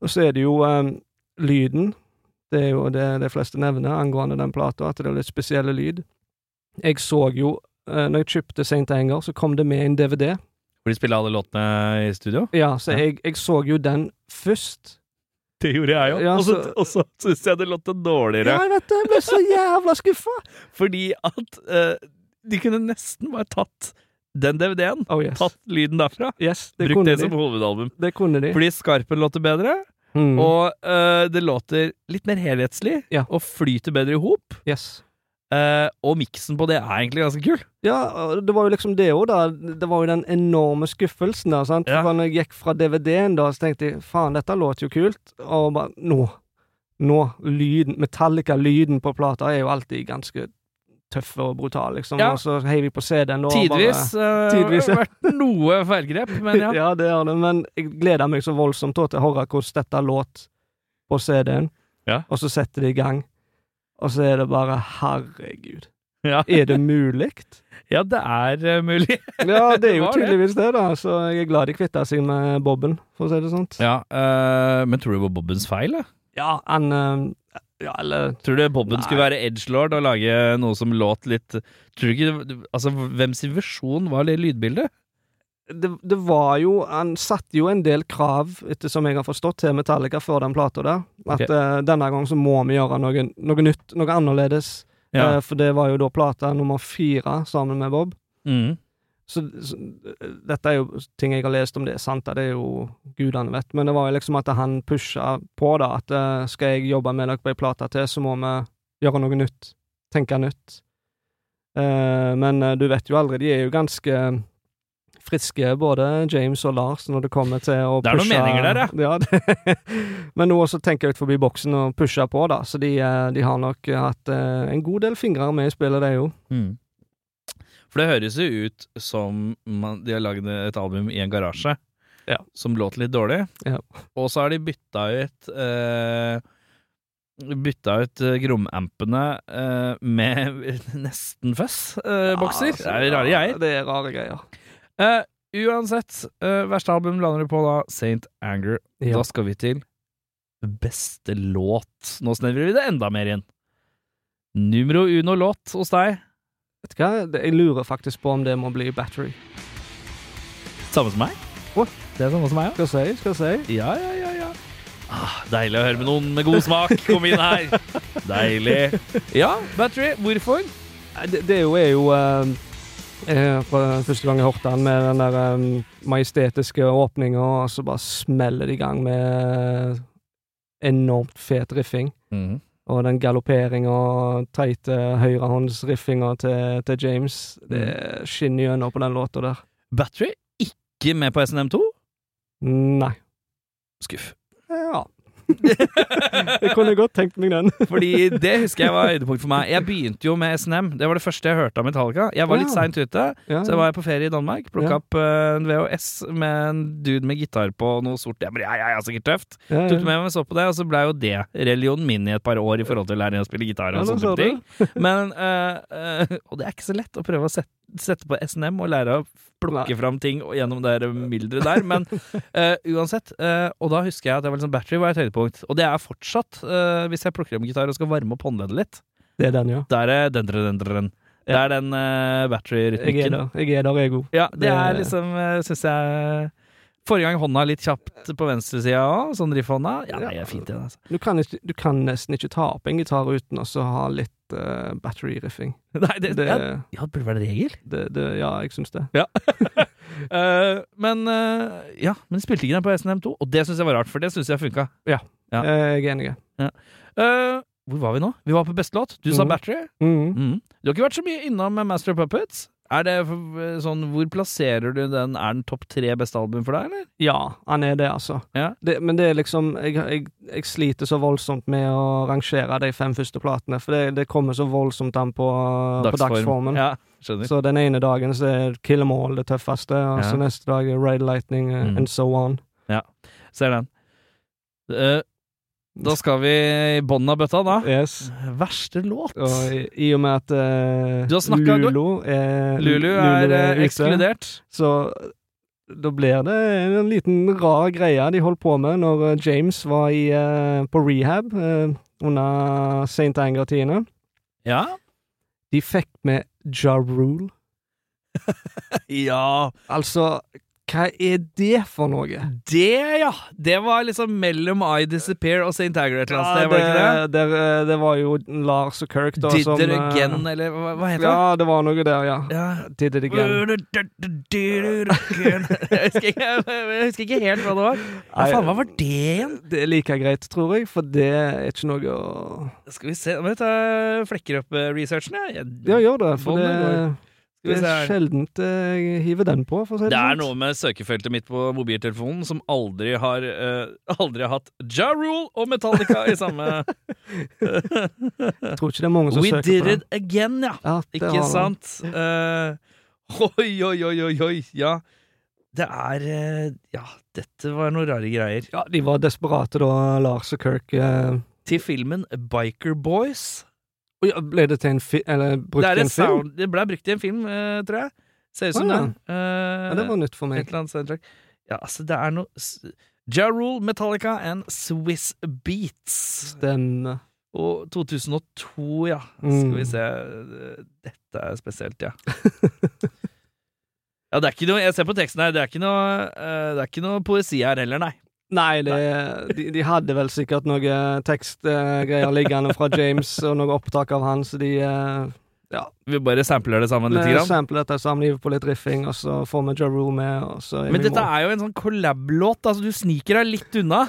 Og så er det jo eh, lyden. Det er jo det de fleste nevner angående den plata, at det er litt spesielle lyd. Jeg så jo eh, når jeg kjøpte St. Anger, så kom det med en DVD.
Hvor de spiller alle låtene i studio?
Ja, så
Ja.
Jeg, jeg så jo den først.
Det gjorde jeg
Ja,
Og så,
så-
og så syns jeg det låta
Ja,
dårligere.
jeg vet det! Jeg ble så jævla skuffa!
Fordi at eh, de kunne nesten bare tatt den DVD-en.
Oh, yes.
Tatt lyden derfra.
yes det
Brukt
kunne
det
de.
som hovedalbum.
Det kunne de.
Fordi Skarpen låter bedre.
Mm.
Og øh, det låter litt mer helhetslig,
Ja.
og flyter bedre i hop.
yes.
eh, og miksen på det er egentlig ganske kul.
Ja, og det var jo liksom det òg, da. Det var jo den enorme skuffelsen der, sant.
Ja.
For når jeg gikk fra DVD-en da, så tenkte jeg faen, dette låter jo kult, og bare nå. Nå. Lyden, Metallica-lyden på plata er jo alltid ganske tøff og brutal, liksom.
Ja.
Og så heier vi på CD-en da. og
Tidvis uh,
Tidvis, ja.
vært noe feilgrep, men ja.
Bare, ja, det gjør det, men jeg gleder meg så voldsomt da til å høre hvordan dette låt på CD-en,
Ja.
og så setter de i gang, og så er det bare herregud.
Ja,
Er det mulig?
ja det er eh, mulig.
Ja, det er jo
Var det?
tydeligvis det, da. Så jeg er glad de kvitta seg med Bobben, for å si det sånn.
Ja, eh, Men tror du det var Bobbens feil? da?
Ja, han eh, Ja, eller
Tror du Bobben
Nei.
skulle være edgelord og lage noe som låt litt Tror du ikke det- Altså, hvem sin versjon var det lydbildet?
det, det var jo Han satte jo en del krav, ettersom jeg har forstått, til Metallica før den plata der. At
Ok.
eh, denne gangen så må vi gjøre noe, noe nytt, noe annerledes.
Ja.
Eh, for det var jo da plata nummer fire sammen med Bob.
Mm.
Så, så eh, dette er jo ting jeg har lest om det er sant, da, det er jo gudene vet. Men det var jo liksom at han pusha på, da. At eh, skal jeg jobbe med dere på ei plate til, så må vi gjøre noe nytt. Tenke nytt. Eh, men eh, du vet jo aldri, de er jo ganske friske, både James og Lars, når det kommer til å pushe
Det er noen meninger der,
ja. det, men nå også tenker jeg ut forbi boksen og pushe på, da. Så de, eh, de har nok hatt eh, en god del fingre med i spillet, det er jo.
Mm. For det høres jo ut som man, de har lagd et album i en garasje
Ja.
som låter litt dårlig,
Ja.
og så har de bytta ut eh, bytta ut eh, gromampene eh, med nesten fuzz-bokser.
Ja, altså,
det er rare
ja,
greier.
Det er rare greier.
Eh, uansett, eh, verste album lander du på da, Saint Anger. Da skal vi til beste låt. Nå snevrer vi det enda mer inn. Numero uno låt hos deg.
Vet du hva? Det- Jeg lurer faktisk på om det må bli Battery.
Samme som meg.
Å.
Det er samme som meg,
Skal jeg si, skal jeg si.
ja. Ja, ja, ja, ja. Ah, deilig å høre med noen med god smak. Kom inn her. Deilig. Ja, Battery. Hvorfor?
Nei, Det, det er jo, er jo eh, eh, fra Første gang jeg hørte han med den der eh, majestetiske åpninga, og så bare smeller det i gang med enormt fet riffing.
Mhm.
Og den galopperinga og teite høyrehåndsriffinga til, til James,
Mm.
det skinner gjennom på den låta der.
Battery ikke med på SNM2?
Nei.
Skuff.
Ja. Jeg kunne godt tenkt meg den.
Fordi det husker jeg var høydepunkt for meg. Jeg begynte jo med SNM. Det var det første jeg hørte av Metallica. Jeg var litt
Ja.
seint ute,
Ja.
så jeg var på ferie i Danmark. Plukka
Ah. Ja.
opp eh, en VHS med en dude med gitar på noe sort. Jeg bare, ja, ja, ja, sikkert tøft.
ja,
Tok det med meg, så på det, og så blei jo det religionen min i et par år i forhold til å lære å spille gitar og
Ja, da
sånne
sa
type ting. Men eh, eh, Og det er ikke så lett å prøve å sette, sette på SNM og lære å plukke
Nei.
fram ting og gjennom det der mylderet der, men eh, uansett. eh, og da husker jeg at det var liksom battery var et høydepunkt, og det er fortsatt, eh, hvis jeg plukker opp en gitar og skal varme opp håndleddet litt,
Det er den, ja.
der er den, den, den, den. Det er den eh,
Jeg er
battery-rytmikken.
der, jeg er der, jeg òg.
Ja, det er
Det-
liksom, uh, syns jeg Forrige gang hånda litt kjapt på venstresida òg, sånn riffhånda. Ja, nei, det er fint, det, altså.
Du, kan ikke- du kan nesten ikke ta opp en gitar uten også å ha litt eh, battery-riffing.
Nei, det,
Det,
ja, ja, det burde vært en regel.
det, det, ja, jeg syns det.
Eh, men eh, ja, men spilte ikke den på SNM2, og det syns jeg var rart, for det syns jeg funka. Ja.
Eh, Jeg er enig.
Eh, hvor var vi nå? Vi var på beste låt. Du sa
Mhm.
Battery.
Mm.
Mhm. Du har ikke vært så mye innom eh, Master of Puppets. Er det eh, sånn, Hvor plasserer du den? Er den topp tre beste album for deg, eller?
Ja, han er det, altså.
Ja.
Det, men det er liksom jeg, jeg, jeg sliter så voldsomt med å rangere de fem første platene, for det, det kommer så voldsomt an på, på dagsformen.
Ja, skjønner.
Så den ene dagen så er Kill 'em all det tøffeste, og
Ja.
så neste dag er Raid Lightning eh,
Mm.
and so on.
Ser den. Eh, da skal vi i bånn av bøtta,
Ah.
da.
Yes.
Verste låt?
Og i, i og med at eh,
Du har snakket- du-
Lulu er,
Lulu er eh,
ute,
ekskludert.
Så da blir det en liten rar greie de holdt på med når eh, James var i, eh, på rehab eh, under St. Anger-tidene.
Ja.
De fikk med Ja Rule.
ja.
Altså, hva er det for noe?
Det, ja! Det var liksom mellom I Disappear og St. Agar et eller annet sted, var det ikke det?
det, det, det var jo Lars og Kirk da,
Did
som
it
eh,
again, eller hva, hva heter
Ja, det var noe der, ja.
det? Ja.
Did it again.
Jeg husker, ikke, jeg husker ikke helt hva det var. Hva faen, hva var det igjen?
Det er like greit, tror jeg, for det er ikke noe å
Skal vi se Nå må jeg ta- flekker opp eh, researchen, jeg.
Ja, gjør det, for
Båndet
det,
går. Skal
det
vi se
er
her.
sjeldent eh, jeg hiver den på, for å si det
Det er
sånn.
noe med søkefeltet mitt på mobiltelefonen som aldri har eh, Aldri har hatt Ja Rule og Metallica i samme
Jeg tror ikke det er mange som
We
søker
did
på
it again, ja.
Ja, det har
Ikke
han.
sant? Eh, oi, oi, oi, oi, oi. Ja. Det er eh, Ja, dette var noen rare greier.
Ja, de var desperate da, Lars og Kirk. Eh,
Til filmen Biker Boys.
oi, ja, ble det til en film? Eller brukt
Det, er
i
et
en film?
sound, det ble brukt i en film, eh, tror jeg. Ser ut som
Å, ja.
den. Eh,
Ja, det var nytt for
Et
meg.
eller annet soundtrack. Ja, altså, det er noe s- Ja Rule, Metallica and Swiss Beats.
Stemme.
Og 2002, ja. Skal
Mm.
vi se Dette er spesielt, ja. ja, det er ikke noe Jeg ser på teksten her, det er ikke noe, eh, det er ikke noe poesi her heller, nei.
Nei, det, De, de hadde vel sikkert noe eh, tekstgreier liggende fra James, og noe opptak av han, så de eh,
Vi bare sampler det sammen litt. Grann.
sampler dette sammen, hiver på litt riffing, og så får vi Ja Rule med, og så er
Men
vi i
dette
mål.
er jo en sånn collab-låt. Altså, du sniker deg litt unna.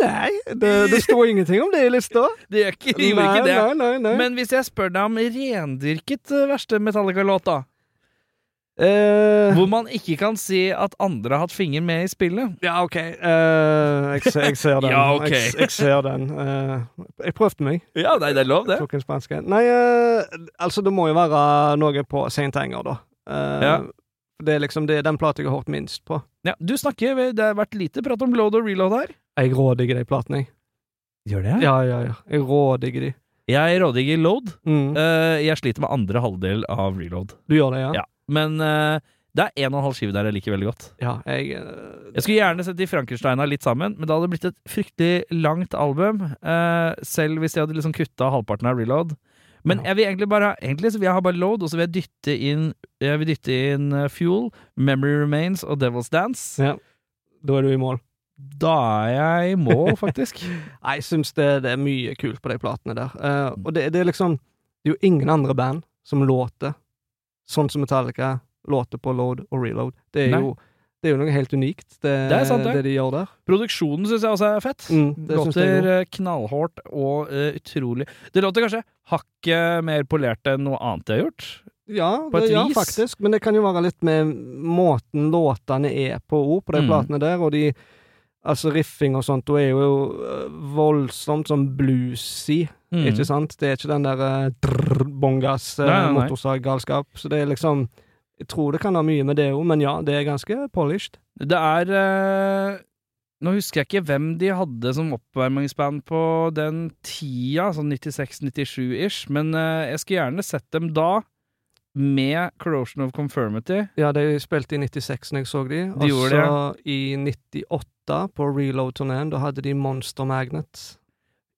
Nei, det, det står ingenting om det i lista.
Det gjør ikke,
Nei,
gjorde ikke det.
nei, nei. nei.
Men hvis jeg spør deg om rendyrket eh, verste Metallica-låt, da?
Eh,
Hvor man ikke kan si at andre har hatt finger med i spillet.
Ja, OK. Eh, jeg, ser, jeg ser den.
Ja, ok.
jeg, jeg ser den. Eh, jeg prøvde meg.
Ja, nei, det er lov,
Tok en spansk en. Nei, eh, altså, det må jo være noe på St. Anger, da. Eh,
Ja.
Det er liksom det, den plata jeg har hørt minst på.
Ja, du snakker, det har vært lite prat om load og reload her.
Jeg rådiger de platene, jeg.
Gjør det?
Ja, ja, ja. Jeg rådigger de.
Jeg rådigger load.
Mm.
Eh, jeg sliter med andre halvdel av reload.
Du gjør det, ja?
ja. Men eh, det er en og en halv skive der jeg liker veldig godt.
Ja, jeg eh,
Jeg skulle gjerne sett de Frankensteina litt sammen, men det hadde blitt et fryktelig langt album. eh, selv hvis de hadde liksom kutta halvparten av reload. Men jeg vil egentlig bare ha, egentlig så vil jeg ha bare load, og så vil jeg dytte inn, jeg vil dytte inn eh, Fuel, Memory Remains og Devil's Dance.
Ja. Da er du i mål.
Da er jeg i mål, faktisk.
Nei, jeg syns det, det er mye kult på de platene der. Eh,
Mm.
og det, det er liksom Det er jo ingen andre band som låter sånn som Metallica låter på Load og Reload. Det er,
Nei.
jo, det er jo noe helt unikt, det,
Det er sant, det.
de gjør der.
Produksjonen syns jeg også er fett.
Mm, det synes jeg
låter eh, knallhårdt og eh, utrolig Det låter kanskje hakket mer polert enn noe annet jeg har gjort.
Ja,
På
det,
et
ja,
vis.
faktisk. Men det kan jo være litt med måten låtene er på òg, på de
Mm.
platene der. Og de Altså, riffing og sånt, hun er jo eh, voldsomt sånn bluesy,
Mm.
ikke sant? Det er ikke den der eh, drrr, bongas eh,
Nei, nei, nei.
motorsaggalskap. Så det er liksom Jeg tror det kan ha mye med det òg, men ja, det er ganske polished.
Det er eh, Nå husker jeg ikke hvem de hadde som oppvarmingsband på den tida, sånn 96-97-ish, men eh, jeg skulle gjerne sett dem da. Med Corrosion of Confirmity.
Ja, de spilte i 96 når jeg så de,
De
og
gjorde
så i 98 på Reload-turneen, da hadde de Monster Magnet.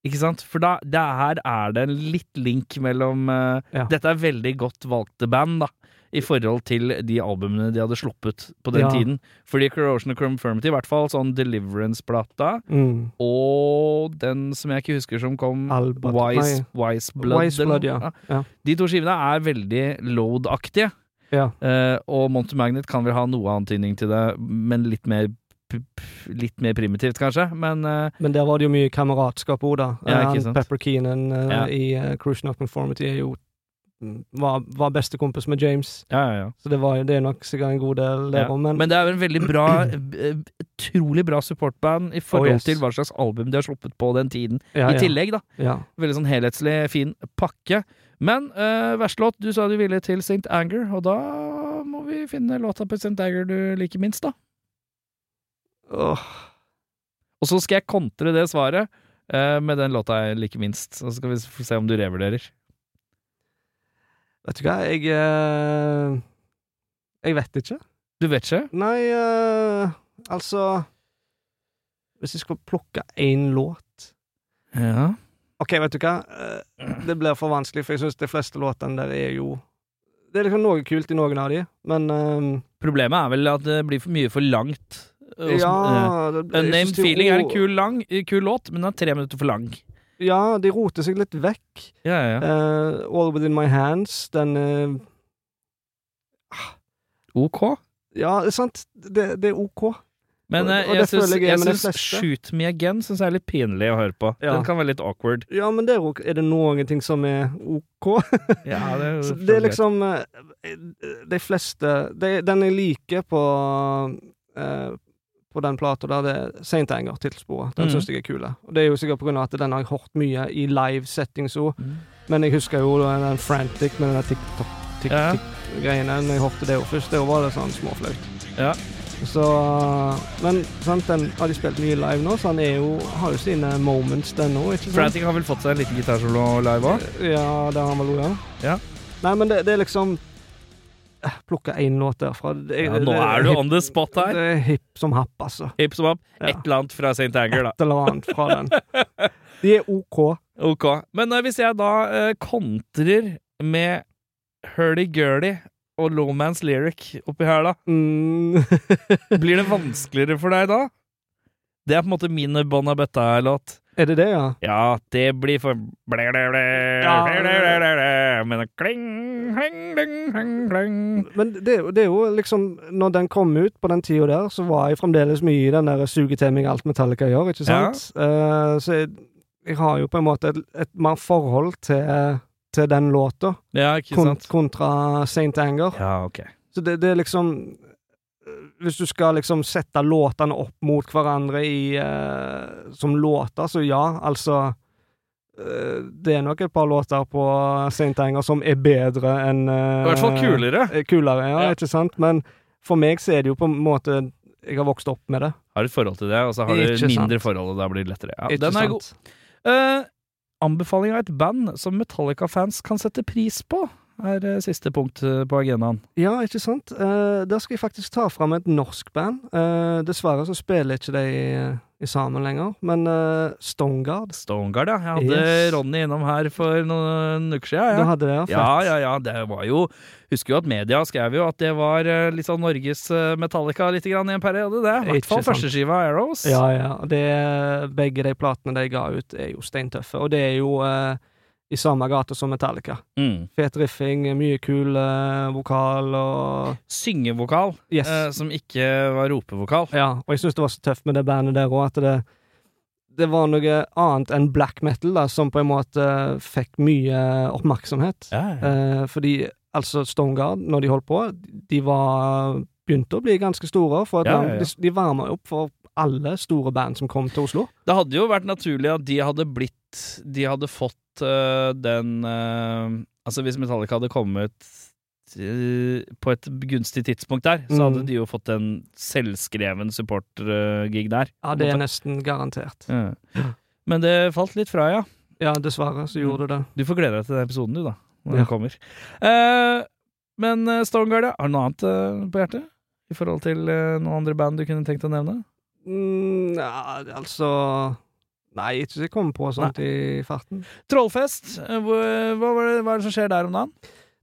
Ikke sant? For da, det her er det en litt link mellom eh,
Ja.
Dette er veldig godt valgte band, da. I forhold til de albumene de hadde sluppet på den
Ja.
tiden. Fordi Corrosion of Confirmity, i hvert fall sånn Deliverance-plata,
Mm.
og den som jeg ikke husker som kom
Albert-
Wise,
nei.
Wise Blood.
Wise Blood,
eller noe.
ja. ja.
De to skivene er veldig load-aktige,
ja.
eh, og Monty Magnet kan vel ha noe antydning til det, men litt mer, p- p- litt mer primitivt, kanskje. Men eh,
Men der var det jo mye kameratskap òg, da.
Ja,
Eh,
ikke
han
sant.
Pepper Keenan eh,
Ja.
i eh, Cruise Not Conformity er jo mm, var, var bestekompis med James,
ja, ja, ja.
så det, var, jo- det er nok sikkert en god del der
Ja.
òg, men,
Men det er jo en veldig bra, eh, utrolig bra supportband i forhold
Oh, yes.
til hva slags album de har sluppet på den tiden.
ja,
I tillegg, da.
Ja. ja.
Veldig sånn helhetslig, fin pakke. Men eh, verste låt, du sa du ville til St. Anger, og da må vi finne låta på St. Anger du liker minst, da.
Åh,
Og så skal jeg kontre det svaret eh, med den låta jeg liker minst. Så skal vi s- få se om du revurderer.
vet du hva, jeg eh, Jeg vet ikke.
Du vet ikke?
Nei, eh, altså Hvis jeg skal plukke én låt
Ja.
OK, vet du hva, eh, det blir for vanskelig, for jeg syns de fleste låtene der er jo Det er liksom noe kult i noen av de, men eh,
Problemet er vel at det blir for mye for langt. eh, og som- eh,
Ja, det- jeg
Unnamed
synes de
Feeling er en
ro-
kul, lang, kul låt, men den er tre minutter for lang.
Ja, de roter seg litt vekk.
Ja, ja, ja.
Eh, All Within My Hands, den eh,
Ok.
Ja, det er sant, det, det er OK.
Men
Og-
eh,
og
jeg
det
syns,
føler jeg er
jeg
med de
syns
fleste.
Shoot Me Again syns jeg er litt pinlig å høre på.
Ja.
Den kan være litt awkward.
Ja, men det er, ok- er det noen ting som er OK?
Ja, det,
Så det er liksom eh, De fleste de, Den jeg liker på eh, På den plata der, det er Saint Anger, tittelsporet. Den
Mhm.
syns jeg er kul. Og det er jo sikkert på grunn av at den har jeg hørt mye i live settings òg.
Mm.
Men jeg husker jo den Frantic med den der
Ja.
TikTok-greiene. Når jeg hørte det jo først, det var det sånn småflaut.
Ja.
Så Men sant, den har de spilt mye live nå, så han er jo, har jo sine moments, den òg, ikke sant?
Frantic har vel fått seg en liten gitarsolo live òg?
Ja, det har han vel òg, ja.
Ja.
Nei, men det, det er liksom Eh, Plukke én låt derfra. Det,
Ja, nå er du on the spot
her.
her.
Det er hipp som happ, altså.
Hipp som happ.
Ja.
Et eller annet fra St. Anger, da.
Et eller annet fra den. De er OK.
Ok. Men eh, hvis jeg da eh, kontrer med hurdy-gurdy og lowman's lyric oppi her, da,
Mm.
blir det vanskeligere for deg da? Det er på en måte min Bonna Bøtta-låt.
er det det, ja?
Ja, det blir for ble, ble, ble,
Ja.
ble, ble, ble, ble, ble, Men kling, kling, kling, kling, kling.
Men det, er jo- det er jo liksom Når den kom ut på den tida der, så var jeg fremdeles mye i den der sugetemming alt Metallica gjør, ikke sant? Eh, så jeg, jeg har jo på en måte et, et mer forhold til, til den låta,
Ja, ikke
kon,
sant?
kontra Saint Anger.
Ja, ok.
Så det, det er liksom eh, Hvis du skal liksom sette låtene opp mot hverandre i, eh, som låter, så ja, altså eh, Det er nok et par låter på Saint Anger som er bedre enn
I hvert
Eh,
fall kulere.
er kulere, ja,
Ja.
ikke sant? Men for meg så er det jo på en måte Jeg har vokst opp med det.
Har du et forhold til det, og så har du
Ikke sant.
mindre forhold, og da blir det lettere. Ja,
ikke
den er
sant?
god. Eh, anbefaling av et band som Metallica-fans kan sette pris på, er eh, siste punkt eh, på agendaen.
Ja, ikke sant? Eh, der skal jeg faktisk ta fram et norsk band. Eh, dessverre så spiller ikke de i, i sammen lenger, men eh, Stongard
Stoneguard, ja. Jeg hadde
Yes.
Ronny innom her for noen uker
Du
siden. Ja.
hadde det,
Ja, ja, ja, det var jo Husker jo at media skrev jo at det var eh, litt sånn Norges eh, Metallica litt grann i en periode, det. I
Ikke
hvert fall
sant.
førsteskiva av Arrows.
Ja, ja. og Det, begge de platene de ga ut, er jo steintøffe. Og det er jo eh, i samme gate som Metallica.
Mm.
Fet riffing, mye kul eh, vokal og
Syngevokal,
Yes.
eh, som ikke var ropevokal.
ja, og jeg syns det var så tøft med det bandet der òg, at det, det var noe annet enn black metal, da, som på en måte fikk mye oppmerksomhet.
Ja,
Eh, fordi altså Stoneguard, når de holdt på, de var begynte å bli ganske store. For at
Ja, ja, ja.
De, de varma jo opp for alle store band som kom til Oslo.
Det hadde jo vært naturlig at de hadde blitt De hadde fått øh, den øh, Altså hvis Metallica hadde kommet øh, på et gunstig tidspunkt der, så hadde
Mm.
de jo fått en selvskreven supportergig der.
Ja, det er nesten garantert.
Ja. Men det falt litt fra, ja.
Ja, dessverre
Mm.
så gjorde det det.
Du får glede deg til den episoden, du, da. Når
Ja.
den kommer. Eh, men uh, Stoneguard, ja. Har du noe annet eh, på hjertet? I forhold til eh, noen andre band du kunne tenkt å nevne?
Mm, ja, altså Nei, ikke så jeg kommer på sånt i farten.
Trollfest. eh, hvor, hva, var det, hva er det som skjer der om dagen?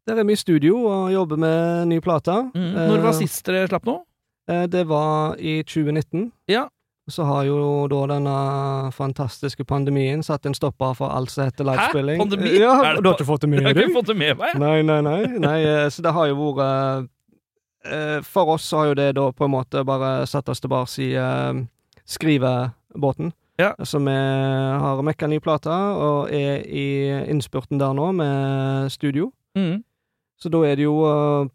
Der er vi i studio og jobber med ny plate.
Mm.
Eh,
Når var sist dere slapp noe?
eh, Det var i 2019.
Ja.
Og Så har jo da denne fantastiske pandemien satt en stopper for alt som heter livespilling.
Pandemi?
Ja,
Er det
du har ikke fått det
Jeg
med
har ikke
deg?
fått det med meg.
Nei, nei, nei. nei eh, så det har jo vært eh, For oss har jo det da på en måte bare satt oss tilbake i eh, skrivebåten.
Ja.
Så vi har mekka ny plate og er i innspurten der nå med studio.
Mm.
Så da er det jo eh,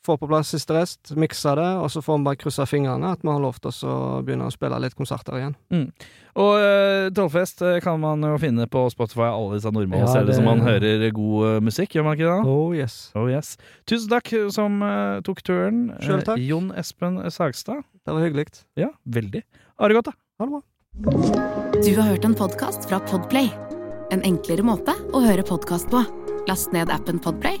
få på plass siste rest, mikse det, og så får vi bare krysse fingrene at vi har lovt oss å begynne å spille litt konserter igjen.
Og eh, Trollfest eh, kan man jo finne på Spotify alle disse normale
Ja,
steder
det-
som man hører god eh, musikk, gjør man ikke det? da?
Oh yes.
Oh yes. Tusen takk som eh, tok turen. eh,
Selv takk.
Jon Espen Sagstad.
Det var hyggelig.
Ja, veldig. Ha det godt, da.
Ha det bra.
Du har hørt en podkast fra Podplay. En enklere måte å høre podkast på. Last ned appen Podplay,